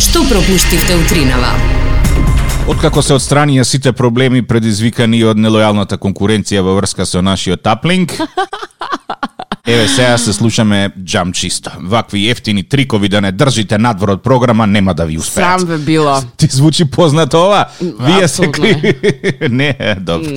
што пропуштивте утринава. Откако се отстранија сите проблеми предизвикани од нелојалната конкуренција во врска со нашиот аплинг, Еве сега се слушаме джам чисто. Вакви ефтини трикови да не држите надвор од програма нема да ви успеат. Срам бе било. Ти звучи познато ова? Вие се Апсолутно кри... не, добро.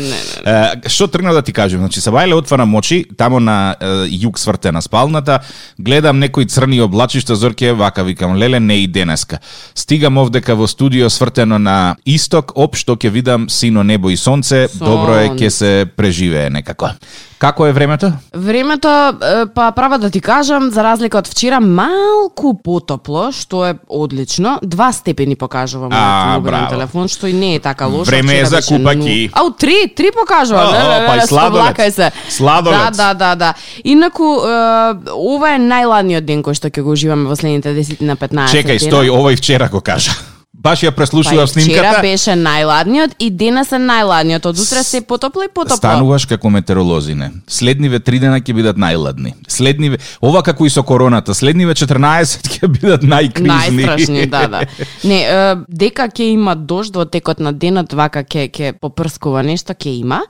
Е, Што тргна да ти кажам? Значи, Сабајле отварам очи, тамо на е, југ сврте на спалната, гледам некои црни облачишта, зорке вака, викам, леле, не и денеска. Стигам овдека во студио свртено на исток, оп, што ќе видам сино небо и сонце, добро е, ќе се преживее некако. Како е времето? Времето, е, па право да ти кажам, за разлика од вчера, малку потопло, што е одлично. Два степени покажува А, мојот мобилен браво. телефон, што и не е така лошо. Време е Вчера за беше купаки. ну- Ау, три, три покажува. О, Ле, ле, ле, па и ле, сладолед. сповлакај се. Сладолед. Да, да, да, да. Инаку, е, ова е најладниот ден кој што ќе го уживаме во следните 10 на 15 Чекај, дена. стој, овој вчера го кажа. Баш ја Па и преслушував вчера снимката. беше најладниот и денес е најладниот. Од утре се потопло и потопло. Стануваш како метеоролозине. Следниве три дена ќе бидат најладни. Следниве, ова како и со короната, следниве 14 ќе бидат најкризни. Најстрашни, да, да. Не, е, дека ќе има дожд во текот на денот, вака ќе ќе попрскува нешто ќе има.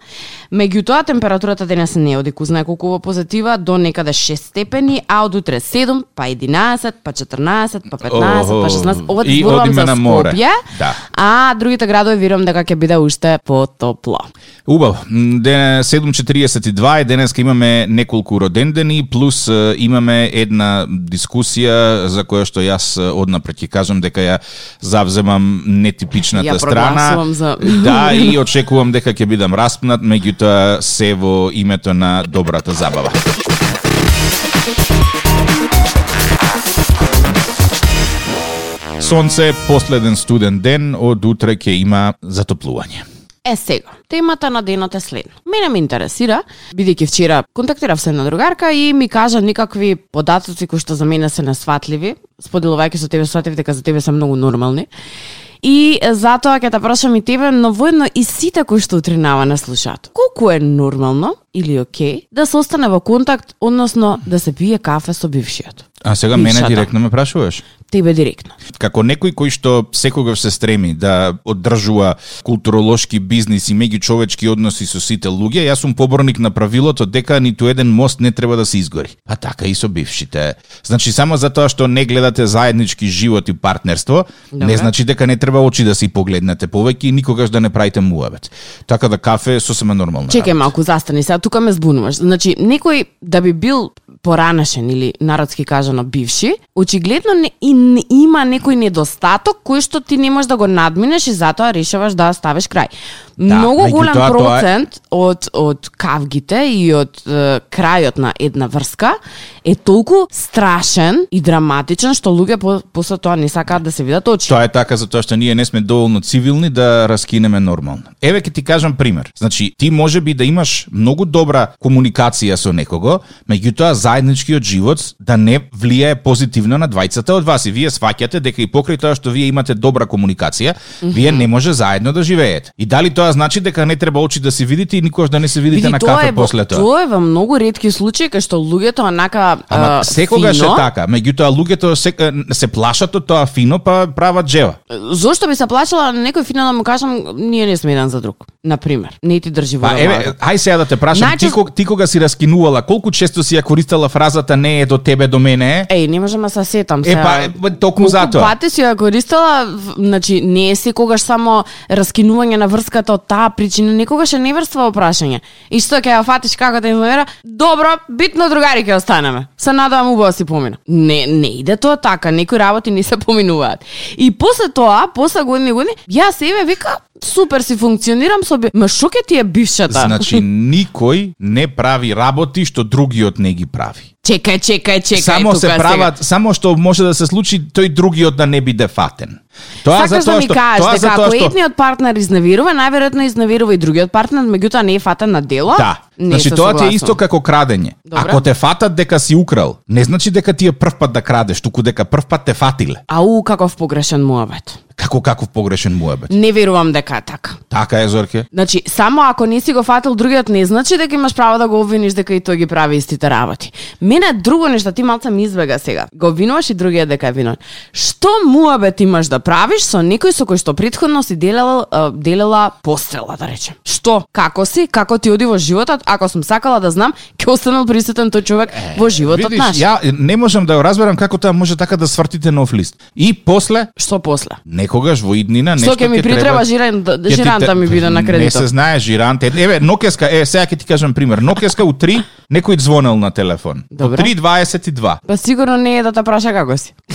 Меѓутоа температурата денес не оди кузна колку во позитива до некаде 6 степени, а од утре 7, па 11, па 14, па 15, па 16. Ова ти И зборувам одиме за на море. Скопје. Да. А другите градови верувам дека ќе биде уште потопло. Убав. М, Ден е 7.42 е денеска имаме неколку родендени, плюс е, имаме една дискусија за која што јас е, однапред ќе кажам дека ја завземам нетипичната Ја страна. прогласувам за- Да, и очекувам дека ќе бидам распнат, меѓутоа се во името на добрата забава. Сонце, последен студен ден, од утре ќе има затоплување. Е сега, темата на денот е следна. Мене ме интересира, бидејќи вчера контактирав со една другарка и ми кажа никакви податоци кои што за мене се несватливи. Споделувајќи со тебе сватив дека за тебе се многу нормални. И е, затоа ќе те прашам и тебе, но воедно и сите кои што утринава не слушаат. Колку е нормално или окей да се остане во контакт, односно да се пие кафе со бившиот? А сега мене Бившата. директно ме прашуваш? Тебе директно. Како некој кој што секогаш се стреми да оддржува културолошки бизнис и меѓучовечки односи со сите луѓе, јас сум поборник на правилото дека ниту еден мост не треба да се изгори. А така и со бившите. Значи само затоа што не гледате заеднички живот и партнерство, Добре. не Добре. значи дека не треба очи да си погледнете повеќе и никогаш да не правите муавет. Така да кафе е сосема нормално. Чекај малку, застани сега, тука ме збунуваш. Значи, некој да би бил поранешен или народски кажано бивши, очигледно не, и, не, има некој недостаток кој што ти не можеш да го надминеш и затоа решаваш да ставиш крај. Да, Многу меѓутоа, голем тоа е- процент од од кавгите и од е, крајот на една врска е толку страшен и драматичен што луѓе по, после тоа не сакаат да се видат очи. Тоа е така затоа што ние не сме доволно цивилни да раскинеме нормално. Еве ќе ти кажам пример. Значи, ти може би да имаш многу добра комуникација со некого, меѓутоа заедничкиот живот да не влијае позитивно на двајцата од вас и вие сваќате дека и покрај тоа што вие имате добра комуникација, вие не може заедно да живеете. И дали тоа значи дека не треба очи да се видите и никогаш да не се видите Види, на тоа кафе е во, после тоа? тоа е во многу ретки случаи кај што луѓето онака Ама е, секогаш е фино, така, меѓутоа луѓето се, се плашат од тоа фино, па прават джева. Зошто би се плачала на некој финално му кажам ние не сме еден за друг, на пример. Не ти држи во Па еве, ај сега да те прашам, Најчест- ти, кога, ти кога си раскинувала, колку често си ја користела фразата не е до тебе до мене е? Еј, не можам да се сетам Е, па, е, ба, токму затоа. пати си ја користела, в- значи, не е секогаш само раскинување на врската од таа причина, некогаш е неврства во прашање. И што ќе ја фатиш како да информира? Добро, битно другари ќе останеме. Се надевам убаво да си помина. Не, не иде тоа така, некои работи не се поминуваат. И после тоа, после години и години, ја себе вика, супер си функционирам со би... Ма шо ќе ти е бившата? Значи, никој не прави работи што другиот не ги прави. Чекај, чекај, чекај. само тука се сега. прават, само што може да се случи тој другиот да не биде фатен. Тоа Сакаш да затоа ми што кажеш тоа дека затоа ако што едниот партнер изневирува, најверојатно изневирува и другиот партнер, меѓутоа не е фатен на дело. Да. Не значи се тоа ти е согласувам. исто како крадење. Добра. Ако те фатат дека си украл, не значи дека ти е прв пат да крадеш, туку дека прв пат те фатиле. Ау, каков погрешен муавет. како каков погрешен муабет. Не верувам дека е така. Така е, Зорке. Значи, само ако не си го фатил другиот не значи дека имаш право да го обвиниш дека и тој ги прави истите работи. Мене друго нешто ти малце ми избега сега. Го обвинуваш и другиот дека е виновен. Што муабет имаш да правиш со некој со кој што претходно си делела а, делела пострела да речем. Што? Како си? Како ти оди во животот? Ако сум сакала да знам, ќе останал присутен тој човек во животот Видиш, наш. ја не можам да ја разберам како таа може така да свртите нов лист. И после, Што после? некогаш во иднина нешто Што ќе ми ќе притреба треба- жиран, да- Ќе ти те- жиранта ми биде на Не кредитот. се знае жиранте. Еве, Нокеска, е, сега ќе ти кажам пример. Нокеска у 3 некој звонел на телефон. У Добро. 3:22. Па сигурно не е да те праша како си.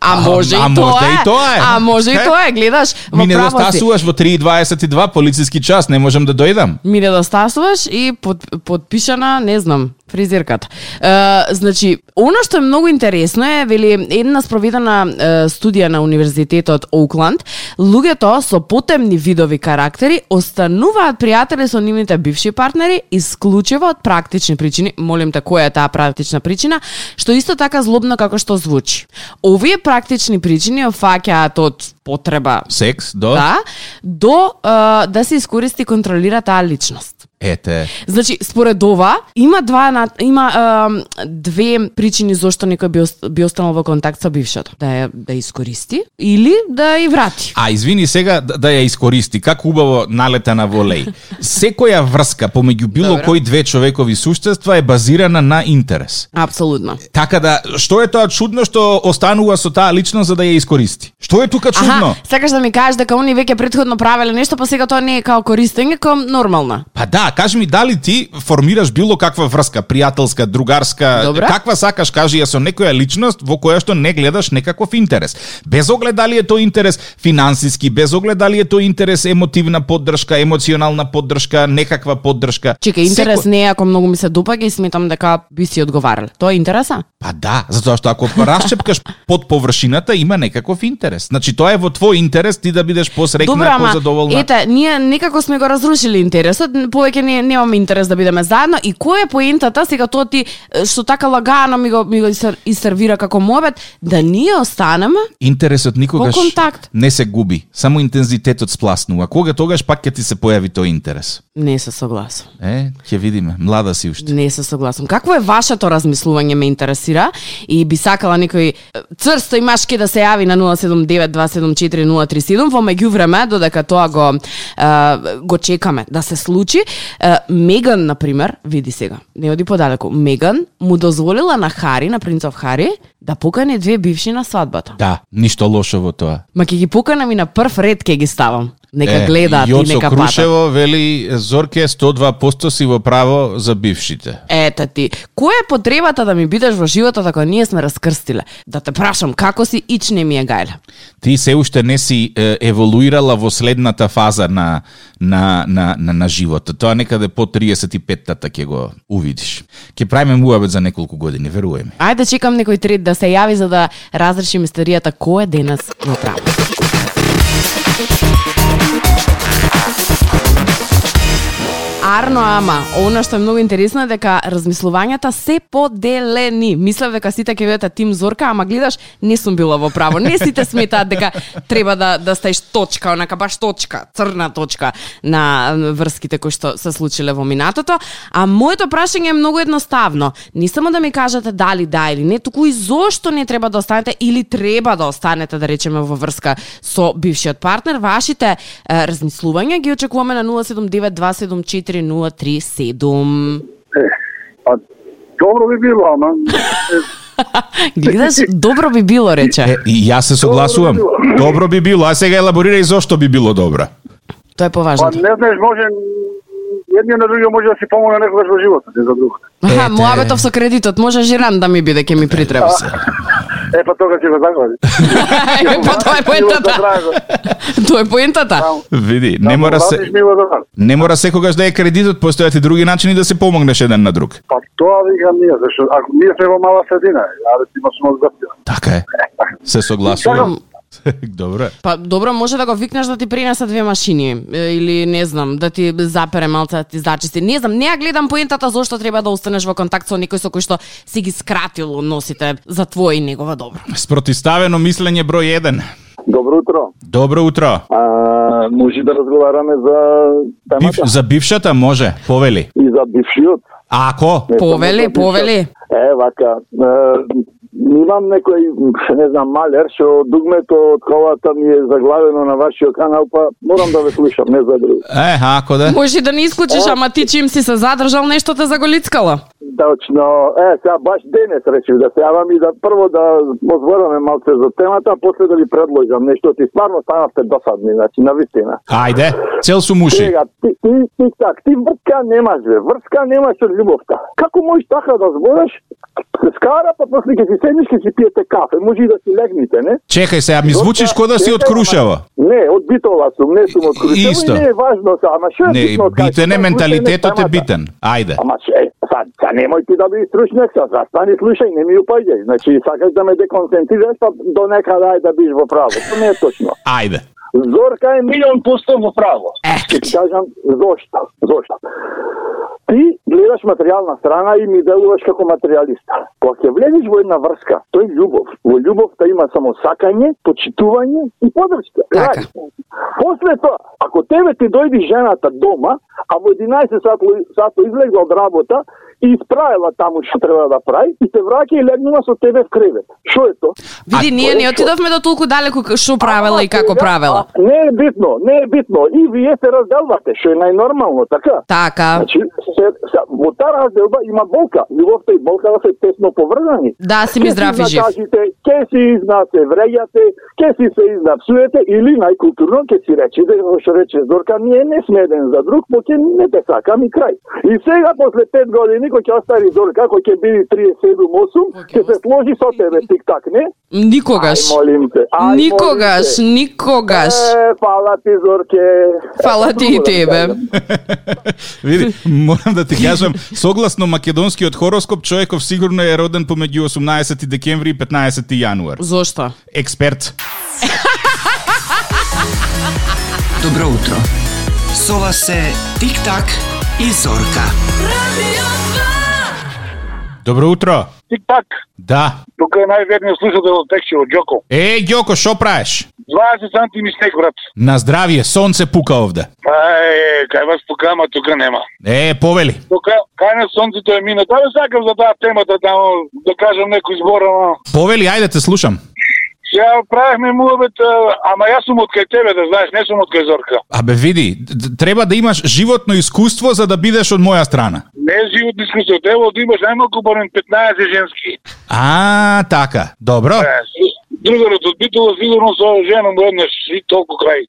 А може а и може тоа е. и тоа е. А може и Е. тоа е, гледаш, во Ми не право си. достасуваш да во 3:22 полициски час, не можам да дојдам. Ми не достасуваш и под, подпишана, не знам, фризерката. Е, значи, она што е многу интересно е, вели, една спроведена е, студија на Универзитетот Оукланд, луѓето со потемни видови карактери остануваат пријатели со нивните бивши партнери исклучиво од практични причини, молим те, која е таа практична причина, што исто така злобно како што звучи. Овие практични причини опфаќаат од потреба Секс, до. да, до е, да се искористи и контролира таа личност. Ете. Значи, според ова, има два на- има е, две причини зошто некој би, ост- би останал во контакт со бившото. Да ја да ја искористи или да ја врати. А извини сега да, да ја искористи, како убаво налета на волеј. Секоја врска помеѓу било Добра. кои две човекови суштества е базирана на интерес. Апсолутно. Така да, што е тоа чудно што останува со таа личност за да ја искористи? Што е тука чудно? Аха, сакаш да ми кажеш дека они веќе предходно правеле нешто, па сега тоа не е као користење, како нормално. Па да, кажи ми дали ти формираш било каква врска, пријателска, другарска, Добра. каква сакаш, кажи ја со некоја личност во која што не гледаш некаков интерес. Без оглед дали е тој интерес финансиски, без оглед дали е тој интерес емотивна поддршка, емоционална поддршка, некаква поддршка. Чека, интерес Секој- не е ако многу ми се допаѓа и сметам дека би си одговарал. Тоа е интереса? Па да, затоа што ако расчепкаш под површината има некаков интерес. Значи тоа е во твој интерес ти да бидеш Добро, посрекна, ама, позадоволна. ете, ние некако сме го разрушили интересот, повеќе не, немаме интерес да бидеме заедно и кој е поентата сега тоа ти е, што така лагано ми го ми го исер- исервира како мобет да ние останеме Интересот никогаш Во контакт. не се губи, само интензитетот спласнува. Кога тогаш пак ќе ти се појави тој интерес. не се согласам. Е, ќе видиме, млада си уште. Не се согласам. Какво е вашето размислување ме интересира и би сакала некој е, црсто и машки да се јави на 079-274-037 во меѓувреме додека тоа го е, го чекаме да се случи. Е, Меган на пример, види сега, не оди подалеку. Меган му дозволила на Хари, на принцов Хари, да покани две бивши на свадбата. Да, ништо лошо во тоа. Ма ќе ги поканам и на прв ред ќе ги ставам. Нека гледаат и Јоцо нека патат. Крушево вели Зорке 102% си во право за бившите. Ете ти, која е потребата да ми бидеш во животот ако ние сме раскрстиле? Да те прашам како си, ич не ми е гајле. Ти се уште не си е, еволуирала во следната фаза на на на на, на животот. Тоа некаде по 35-тата ќе го увидиш. Ќе правиме муабет за неколку години, верувај ми. Ајде чекам некој трет да се јави за да разреши мистеријата кој е денес на трава. Арно ама, она што е многу интересно е дека размислувањата се поделени. Мислев дека сите ќе видат тим Зорка, ама гледаш, не сум била во право. Не сите сметаат дека треба да да стаиш точка, онака баш точка, црна точка на врските кои што се случиле во минатото. А моето прашање е многу едноставно. Не само да ми кажете дали да или не, туку и зошто не треба да останете или треба да останете, да речеме, во врска со бившиот партнер. Вашите е, размислувања ги очекуваме на 079-274-037. Е, Па, добро би било, ама... е, Гледаш, добро би било, Е, рече. и јас се согласувам. Добро би било. Добро би било, а сега елаборирај зошто би било добро. Тоа Па, е поважното. не знаеш, може... Едниот на другиот може да си помогне некогаш во животот, не за друго. Аха, Ете. муабетов со кредитот, може жиран да ми биде, ќе ми притреба се. Е, па тога ќе го заглади. Е, па тоа е поентата. Тоа е поентата. Види, не мора се Ми го загладиш. не мора секогаш да е кредитот, постојат и други начини да се помогнеш еден на друг. Па тоа викам ние, зашто ако ние сме во мала средина, аде ти имаш мозг да пија. Така е. Се согласувам. Добро. е. Па добро, може да го викнеш да ти принесе две машини е, или не знам, да ти запере малце, да ти зачисти. Не знам, не ја гледам поентата зошто треба да останеш во контакт со некој со кој што си ги скратил носите за твое и негово добро. Спротиставено мислење број 1. Добро утро. Добро утро. А, може да разговараме за Бив, темата за бившата може, повели. и за бившиот. Ако, Не само за Повели, бившиот. повели. Е, вака. Е, имам некој, не знам, малер, што дугмето од колата ми е заглавено на вашиот канал, па морам да ве слушам, не за друго. е, ако да. Може да не исклучиш, ама ти чим си се задржал нешто те заголицкало. Точно. Е, сега баш денес речив да се јавам и да прво да позвораме малце за темата, а после да ви предложам нешто. Ти стварно станавте досадни, значи, на вистина. Ајде, цел сум уши. Сега, ти, ти, ти, так, ти врска немаш, бе. Врска немаш од љубовта. Како можеш така да збораш? Се скара, па после ќе си седнеш, ќе си пиете кафе. Може и да си легнете, не? Чекај сега, ми звучиш кој да си од Чекај, Крушево. ама- Не, од Битола сум, не сум од Крушево Исто. и не е важно, са, ама што е Не, битно? кај- битен е кај менталитетот е слушање битен. Ајде. Ама ше, са, са немој ти да би стручнек, са, застани, слушај, не ми упаѓај. Значи, сакаш да ме деконцентрираш, па до некада ај да биш во право. Тоа не е точно. Ајде. Зорка е милион пусто во право. Е. Ќе ти кажам зошто, зошто. Ти гледаш материјална страна и ми делуваш како материјалиста. Кога ќе влезеш во една врска, тој љубов. Во љубовта има само сакање, почитување и подршка. Така. Рај. После тоа, ако тебе ти дојди жената дома, а во 11 сато, сато излегла од работа и исправила таму што треба да прави, и се враќа и легнува со тебе в кревет. Што е тоа? Види, ние кој не е отидовме до толку далеку к- што правела и како сега, правела. а, Не е битно, не е битно. И вие се разделвате, што е најнормално, така? Така. Значи, се, се, во таа разделба има болка. Љубовта и болката се тесно поврзани. Да, си ми Ке здрав и жив. накажете, Ке си изна се вреѓате, ке си се изнапсуете или најкултурно ке си речете, како што рече Зорка, ние не сме еден за друг, по ке не те сакам и крај. И сега после 5 години кој ќе остари Зорка, кој ќе биде 37-8, ќе се сложи со тебе тик-так, не? Никогаш. Ај, молим те. Ај, молим Никогаш, те. никогаш. Е, фала ти, Зорке. Фала ти и Друго да ти тебе. кажам. Види, морам да ти кажам, согласно македонскиот хороскоп, човеков сигурно е роден помеѓу 18 декември и 15 јануар. Зошто? Експерт. Добро утро. Сова се Тик-так и Зорка. Добро утро. Тик-так. Да. Тука е најверниот слушател од Текшиво, Джоко. Е, Ѓоко, шо правиш? 20 санти ми снег, брат. На здравје, сонце пука овде. Ај, кај вас тука, ама тука нема. Е, повели. Тука, кај на сонцето е мина. Да, сакам за таа темата, да, да кажам некој збор, ама... Повели, ајде те слушам. Ја правихме муабет, а, ама јас сум од кај тебе, да знаеш, не сум од кај Зорка. Абе, види, д- д- треба да имаш животно искуство за да бидеш од моја страна. Не е живот искусство, ево да имаш најмалку барем 15 женски. А, така. Добро. Е, с- Другарот од Битола сигурно со жена му еднаш и толку крај.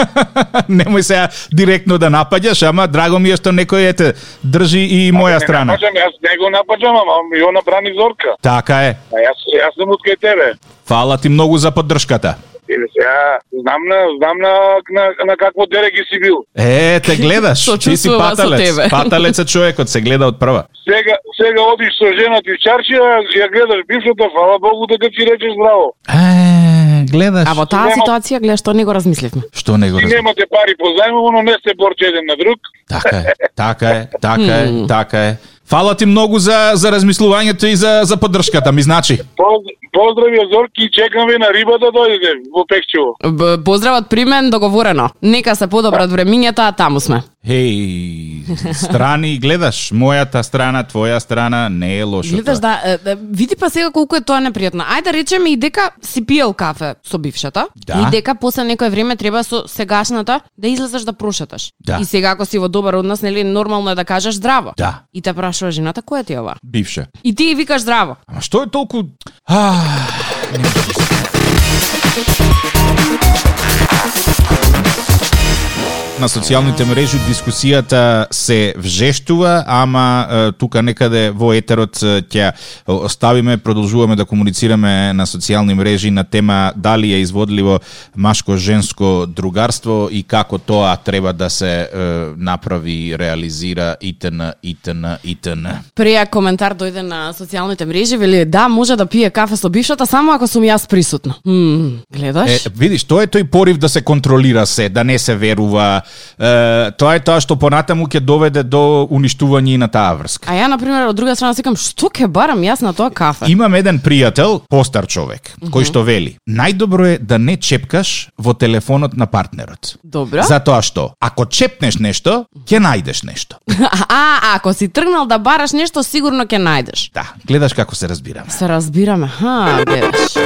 Немој сега директно да напаѓаш, ама драго ми е што некој ете држи и моја страна. Напаѓам, јас не го напаѓам, ама ја направи Зорка. Така е. А јас, јас сум од кај тебе. Фала ти многу за поддршката. Или сега, знам на, знам на, на, на какво дереги си бил. Е, те гледаш, ти си Сочувствува со паталец. тебе. Паталец е човекот, се гледа од прва. Сега, сега одиш со жена ти в чаршија, ја гледаш бившата, фала Богу дека ти речеш здраво. Е, гледаш. А во таа Нема- ситуација, гледаш, што не го размисливме. Што не го Ти разбираш? немате пари по зајмово, но не сте борче еден на друг. Така е, така е, така е, така е. Фала ти многу за за размислувањето и за за поддршката, ми значи. Поз- Поздрави од Зорки и чекам ви на риба да дојдете во Пекчево. Б- Поздравот при мен договорено. Нека се подобрат времињата, а таму сме. Хеј, страни гледаш, мојата страна, твоја страна не е лошо. Гледаш тоа. да, е, е, види па сега колку е тоа непријатно. Ајде да речеме и дека си пиел кафе со бившата Да. и дека после некое време треба со сегашната да излезеш да прошеташ. Да. И сега ако си во добар однос, нели нормално е да кажеш здраво. Да. И те прашува жената која ти е ова? бивша. И ти ја викаш здраво. Ама што е толку а, на социјалните мрежи дискусијата се вжештува, ама е, тука некаде во етерот е, ќе оставиме, продолжуваме да комуницираме на социјални мрежи на тема дали е изводливо машко-женско другарство и како тоа треба да се е, направи, реализира итн, итн, итн. Преја коментар дојде на социјалните мрежи, вели да, може да пие кафе со бившата само ако сум јас присутна. Мм, гледаш? Е, видиш, тоа е тој порив да се контролира се, да не се верува, е, тоа е тоа што понатаму ќе доведе до уништување и на таа врска. А па. ја, например, од друга страна си кам, што ке барам јас на тоа кафе? Имам еден пријател, постар човек, кој што вели, најдобро е да не чепкаш во телефонот на партнерот. Добро. Затоа што, ако чепнеш нешто, ќе најдеш нешто. А, а, ако си тргнал да бараш нешто, сигурно ќе најдеш. Да, гледаш како се разбираме. Се разбираме. Ха, бебеш.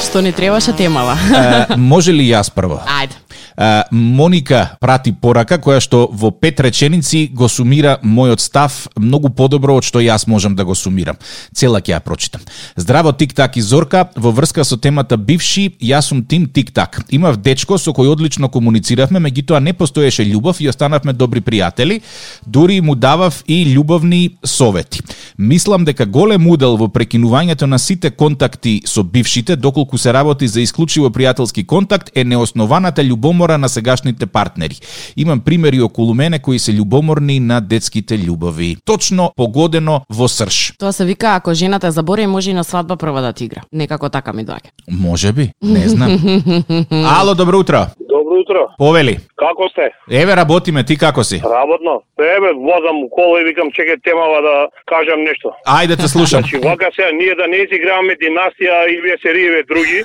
Што ни требаше темава. Е, може ли јас прво? Ајде. Е, Моника прати порака која што во пет реченици го сумира мојот став многу подобро од што јас можам да го сумирам. Цела ќе ја прочитам. Здраво тик-так и Зорка, во врска со темата бивши, јас сум тим тик-так. Имав дечко со кој одлично комунициравме, меѓутоа не постоеше љубов и останавме добри пријатели, дури му давав и љубовни совети. Мислам дека голем удел во прекинувањето на сите контакти со бившите, доколку се работи за исклучиво пријателски контакт, е неоснованата љубомора на сегашните партнери. Имам примери околу мене кои се љубоморни на детските љубови. Точно погодено во срш. Тоа се вика, ако жената забори, може и на свадба прва да ти игра. Некако така ми доаѓа. Може би, не знам. Ало, добро утро. Добро утро. Повели. Како сте? Еве работиме, ти како си? Работно. Ебе, возам кола и викам чекај темава да кажам нешто. Ајде те слушам. Значи, вака сега ние да не изиграваме династија и вие сериеве други.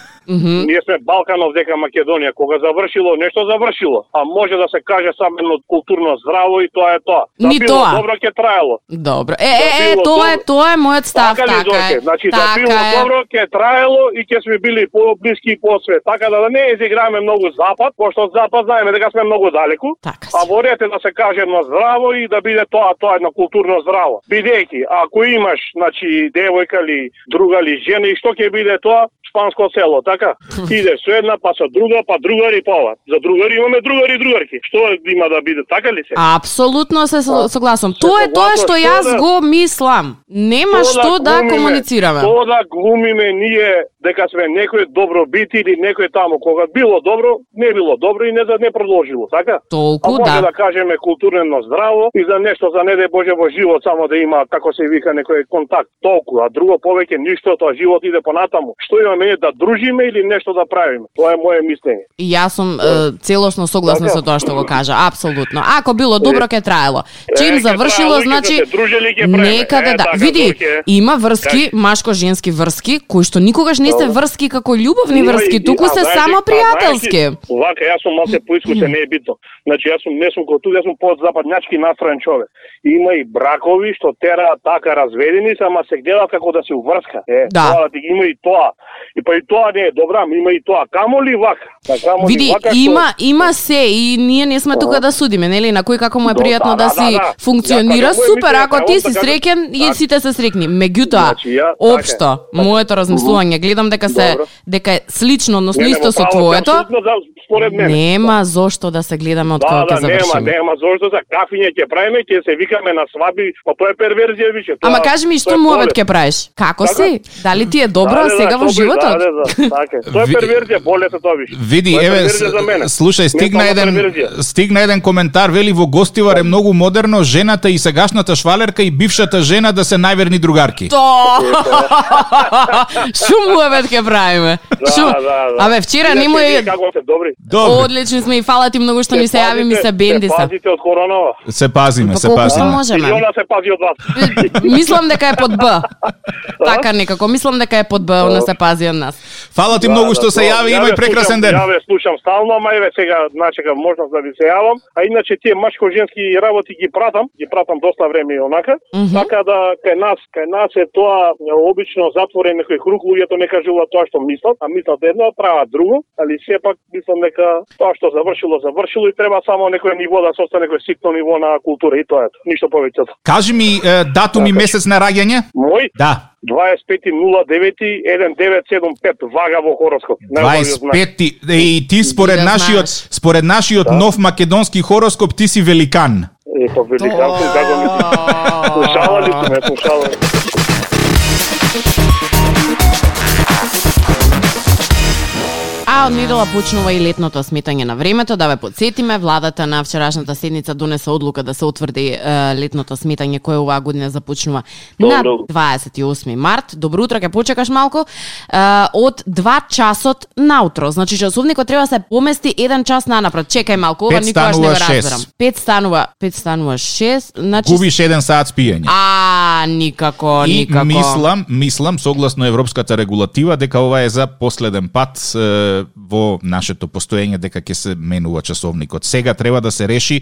Ние сме Балканов дека Македонија. Кога завршило, нешто завршило. А може да се каже само едно културно здраво и тоа е тоа. Да Ни било тоа. добро ќе траело. Добро. Е, е, е, било тоа е, добро. тоа е мојот став, така ли, така е. Зорке? Значи, да било Така е. добро, ќе траело и ќе сме били по-блиски и по-све. Така да, да не изиграме многу запад, пошто од запад знаеме дека сме многу далеку. Така си. А ворете да се каже едно здраво и да биде тоа, тоа едно културно здраво. Бидејќи, ако имаш, значи, девојка ли, друга ли, жена, и што ќе биде тоа? шпанско село, така? Иде со една, па со друга, па другари, па ова. За другари имаме другари и другарки. Што има да биде, така ли се? Апсолутно се со- Па, согласам. Тоа е тоа согласна, што што јас да- го мислам. Нема што да глумиме, комуницираме. Што да глумиме ние дека сме некој добробит или некој таму. Кога било добро, не било добро и не за не продолжило, така? Толку, а може да. да кажеме културно здраво и за нешто за не дај Боже во живот само да има како се вика некој контакт толку, а друго повеќе ништо, тоа живот иде понатаму. Што имаме ние да дружиме или нешто да правиме? Тоа е моје мислење. И Јас сум е, целосно согласна Така. со тоа што го кажа, апсолутно. Ако било добро ќе траело. Чим Е, ќе завршило, траело, ќе значи се дружеле, ќе преме. некаде Е, да. така, Види, тоа ќе- има врски, машко-женски врски, кои што никогаш не се врски како љубовни Има врски, и- туку а, се знаеш, само а, пријателски. знаеш ли, Вака, јас сум малце поискусен, не е битно. Значи, јас сум, не сум кој тук, јас сум подзападњачки настроен човек. Има и бракови што тераат така разведени, се, ама се гледаат како да се уврска. Е, Да. Тоа, ти ги има и тоа. И па и тоа не е добра, ама има и тоа. Камо ли вака? Па, камо ли Види, вака, што- има има се и ние не сме тука да судиме, нели, на кој како му е Да, пријатно да, да да, си да. функционира Ја, кога супер, мој ако мислење, ти ја, си така, среќен и така. сите се срекни. Меѓутоа, Значи, ја, така е. општо, моето размислување, гледам дека се Добро. дека е слично, односно Не, исто нема со право, твоето. апсолутно за- според мене. Нема зошто да се гледаме од Да, кога ќе да, нема, завршиме. нема, зошто за кафиње ќе правиме, ќе се викаме на свадби, па тоа е перверзија више. Тоа, Ама кажи ми да. тоа што е муавет полет. ќе правиш? Како Така? си? Дали ти е добро да, сега да, во добро, животот? Да, да, да, така. е. Тоа е Ви- перверзија, боле се тоа више. Види, Тоа е еве, перверзија за мене. с- слушај, Не стигна само еден, перверзија. Да. стигна еден коментар, вели во Гостивар е многу модерно, жената и сегашната швалерка и бившата жена да се најверни другарки. То! Шум муавет ќе правиме. Да, Шум. да, да. Абе, вчера Иначе не му вие е Како сте добри? Добро, Одлични сме и фала ти многу што ни се јави ми се Се бендиса. пазите од коронава. се пазиме, Па се колку што пазиме. И можеме. она се пази од вас. Мислам дека е под Б. Така некако, мислам дека е под Б, она се пази од нас. Фала ти Да, многу да, што се тоа. јави, Ја имај ве прекрасен слушам, ден. Ја ве слушам стално, ама еве сега начекам можност да ви се јавам, а иначе тие машко-женски работи ги пратам, ги пратам доста време и онака. Така да кај нас, кај нас е тоа е, обично затворен некој круг, луѓето не кажуваат тоа што мислат, а мислат едно, а прават друго, али сепак мислам дека тоа што завршило, завршило и треба само некој ниво да се остане некој ситно ниво на култура и тоа е. тоа. Ништо повеќе. Кажи ми е, датум и месец на раѓање? Мој Да, 25.09.1975 вага во хороскоп. Најбојот знак. 25 и ти според да нашиот знаеш. според нашиот Да. нов македонски хороскоп ти си великан. Ето, великан сум, како ми па слушавали сме, слушавали. А Таа од недела почнува и летното сметање на времето. Да ве подсетиме, владата на вчерашната седница донесе одлука да се утврди е, летното сметање кое оваа година започнува Добро. на 28 март. Добро утро, ќе почекаш малку. Е, од 2 часот наутро. Значи часовникот треба да се помести 1 час нанапред. Чекај малку, ова Пет никогаш не станува го разбирам. шест. 5 станува, 5 станува 6. Значи Губиш еден саат спиење. А, никако, И никако. мислам, мислам, согласно европската регулатива, дека ова е за последен пат е, во нашето постоење дека ќе се менува часовникот. Сега треба да се реши е,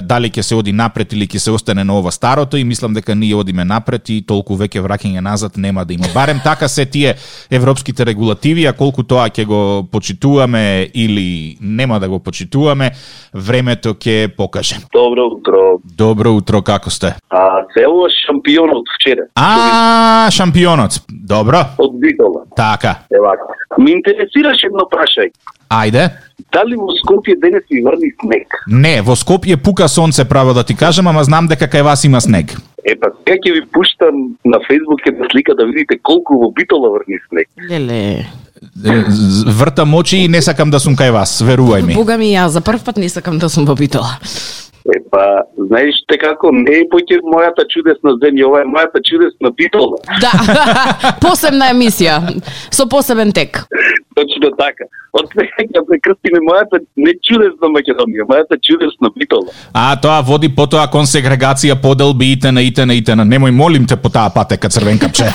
дали ќе се оди напред или ќе се остане на ова старото и мислам дека ние одиме напред и толку веќе враќање назад нема да има. Барем така се тие европските регулативи, а колку тоа ќе го почитуваме или нема да го почитуваме, времето ќе покаже. Добро утро. Добро утро, како сте? А целуваш шампионот вчера А, шампионот. Добро. од Битола. Така. Евако. Ме интересираш едно прашање. Ајде. Дали во Скопје денес ви врни снег? Не, во Скопје пука сонце право да ти кажам, ама знам дека кај вас има снег. Епа, па, сега ќе ви пуштам на Фейсбук една слика да видите колку во Битола врни снег. Леле. Е, з- Вртам очи и не сакам да сум кај вас, верувај ми. Бога ми ја, за прв пат не сакам да сум во Битола. Епа, па, знаеш те како не е поќе мојата чудесна земја, ова е мојата чудесна Битола. Да, посебна емисија, со посебен тек. Точно така. Од сега ќе прекрстиме мојата не чудесна Македонија, мојата чудесна Битола. А тоа води потоа кон сегрегација поделби ите на ите на ите на. Немој молим те по таа патека црвен капче.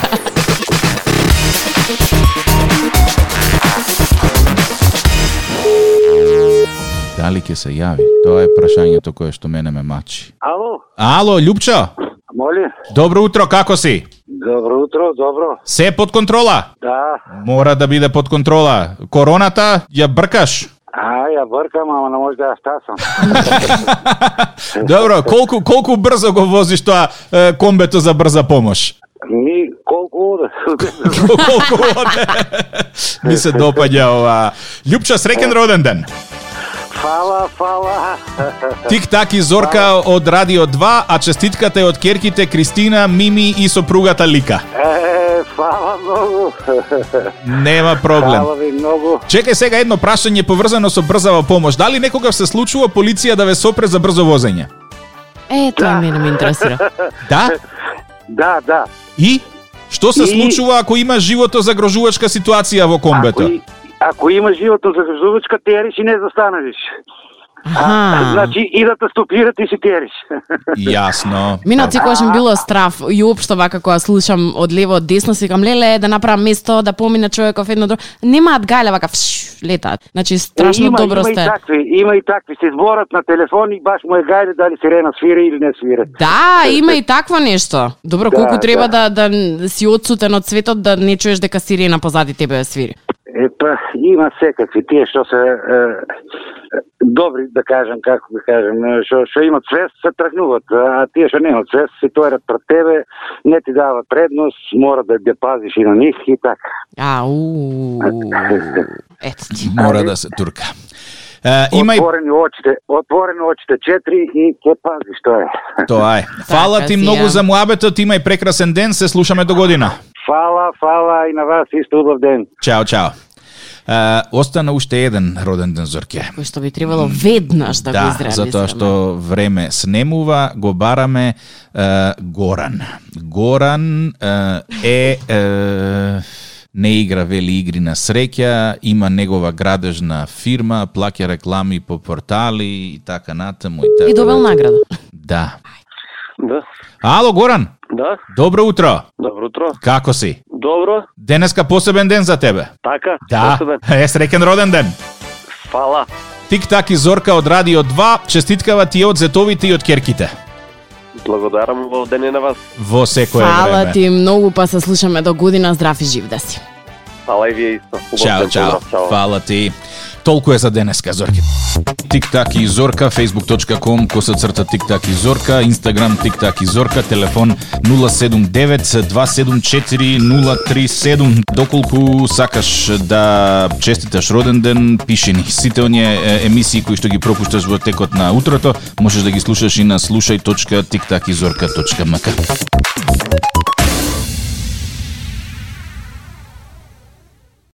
Дали ќе се јави? Тоа е прашањето кое што мене ме мачи. Ало, Ало, Љупчо, моли, добро утро, како си? добро утро, добро. Се под контрола? Да, Мора да биде под контрола. Короната ја бркаш. а ја бркам, ама не може да ја стасам. Добро, колку колку брзо го возиш тоа е, комбето за брза помош? Ми, колку оде? колку оде? Ми се допаѓа ова. Љупчо, среќен роден ден. Фала, фала. Тик так и Зорка од Радио 2, а честитката е од керките Кристина, Мими и сопругата Лика. Е, фала многу. Нема проблем. Фала ви многу. Чекај сега едно прашање поврзано со брзава помош. Дали некогаш се случува полиција да ве сопре за брзо возење? Е, тоа мене ме интересира. Да? Да, да. И? Што се И- случува ако има живото загрожувачка ситуација во Ако, комбето? и- ако има животно за грзувачка, те реши не застанеш. Аха. Значи, и да те стопират и си териш. Јасно. Минат си кога ми било страв и општо вака кога слушам од лево од десно си кам леле да направам место да помине човеков едно друго. Немаат гајле вака фш, летаат. Значи страшно има, добро има сте. и такви, има и такви. Се зборат на телефон и баш му е гајде дали сирена свири или не свири. Да, има и такво нешто. Добро, Да, колку треба да, да, си одсутен од светот да не чуеш дека сирена позади тебе ја свири. Епа, има секакви тие што се е, е, добри, да кажам, како да кажам, е, што што имат свест се тргнуваат, а тие што немаат свест се тоерат пред тебе, не ти даваат предност, мора да ја пазиш и на нив и така. Ау. Ето ти. Мора да се турка. Е, има и Отворени очите, отворени очите четири и ќе пазиш тоа е. тоа е. Фала ти Така, си многу ја. за муабетот, имај прекрасен ден, се слушаме до година. Фала, фала и на вас исто убав ден. Чао, чао. Е, остана уште еден роден ден Зорке. Кој што би требало веднаш да, го Да, изреализираме. затоа што време снемува, го бараме е, Горан. Горан е, е, е не игра вели игри на среќа, има негова градежна фирма, плаќа реклами по портали и така натаму и така. И добил награда. Да. Да, Ало Горан, да, добро утро. добро утро. Како си? Добро, Денеска посебен ден за тебе. така, Да. Е среќен роден ден. фала. Тик так и Зорка од Радио 2, честиткава ти од зетовите и од керките. Благодарам во ден на вас. Во секое време. Фала ти многу, па се слушаме до година. Здрав и жив да си. Фала и вие исто. Убав Чао, ден, чао. поздрав, чао. Фала ти. Толку е за денеска, Зорки. Тик-так и Зорка, facebook.com, коса црта Тик-так и Зорка, Instagram Тик-так и Зорка, телефон 079-274-037. Доколку сакаш да честиташ роден ден, пиши ни. Сите оние е, емисии кои што ги пропушташ во текот на утрото, можеш да ги слушаш и на слушај.тиктакизорка.мк.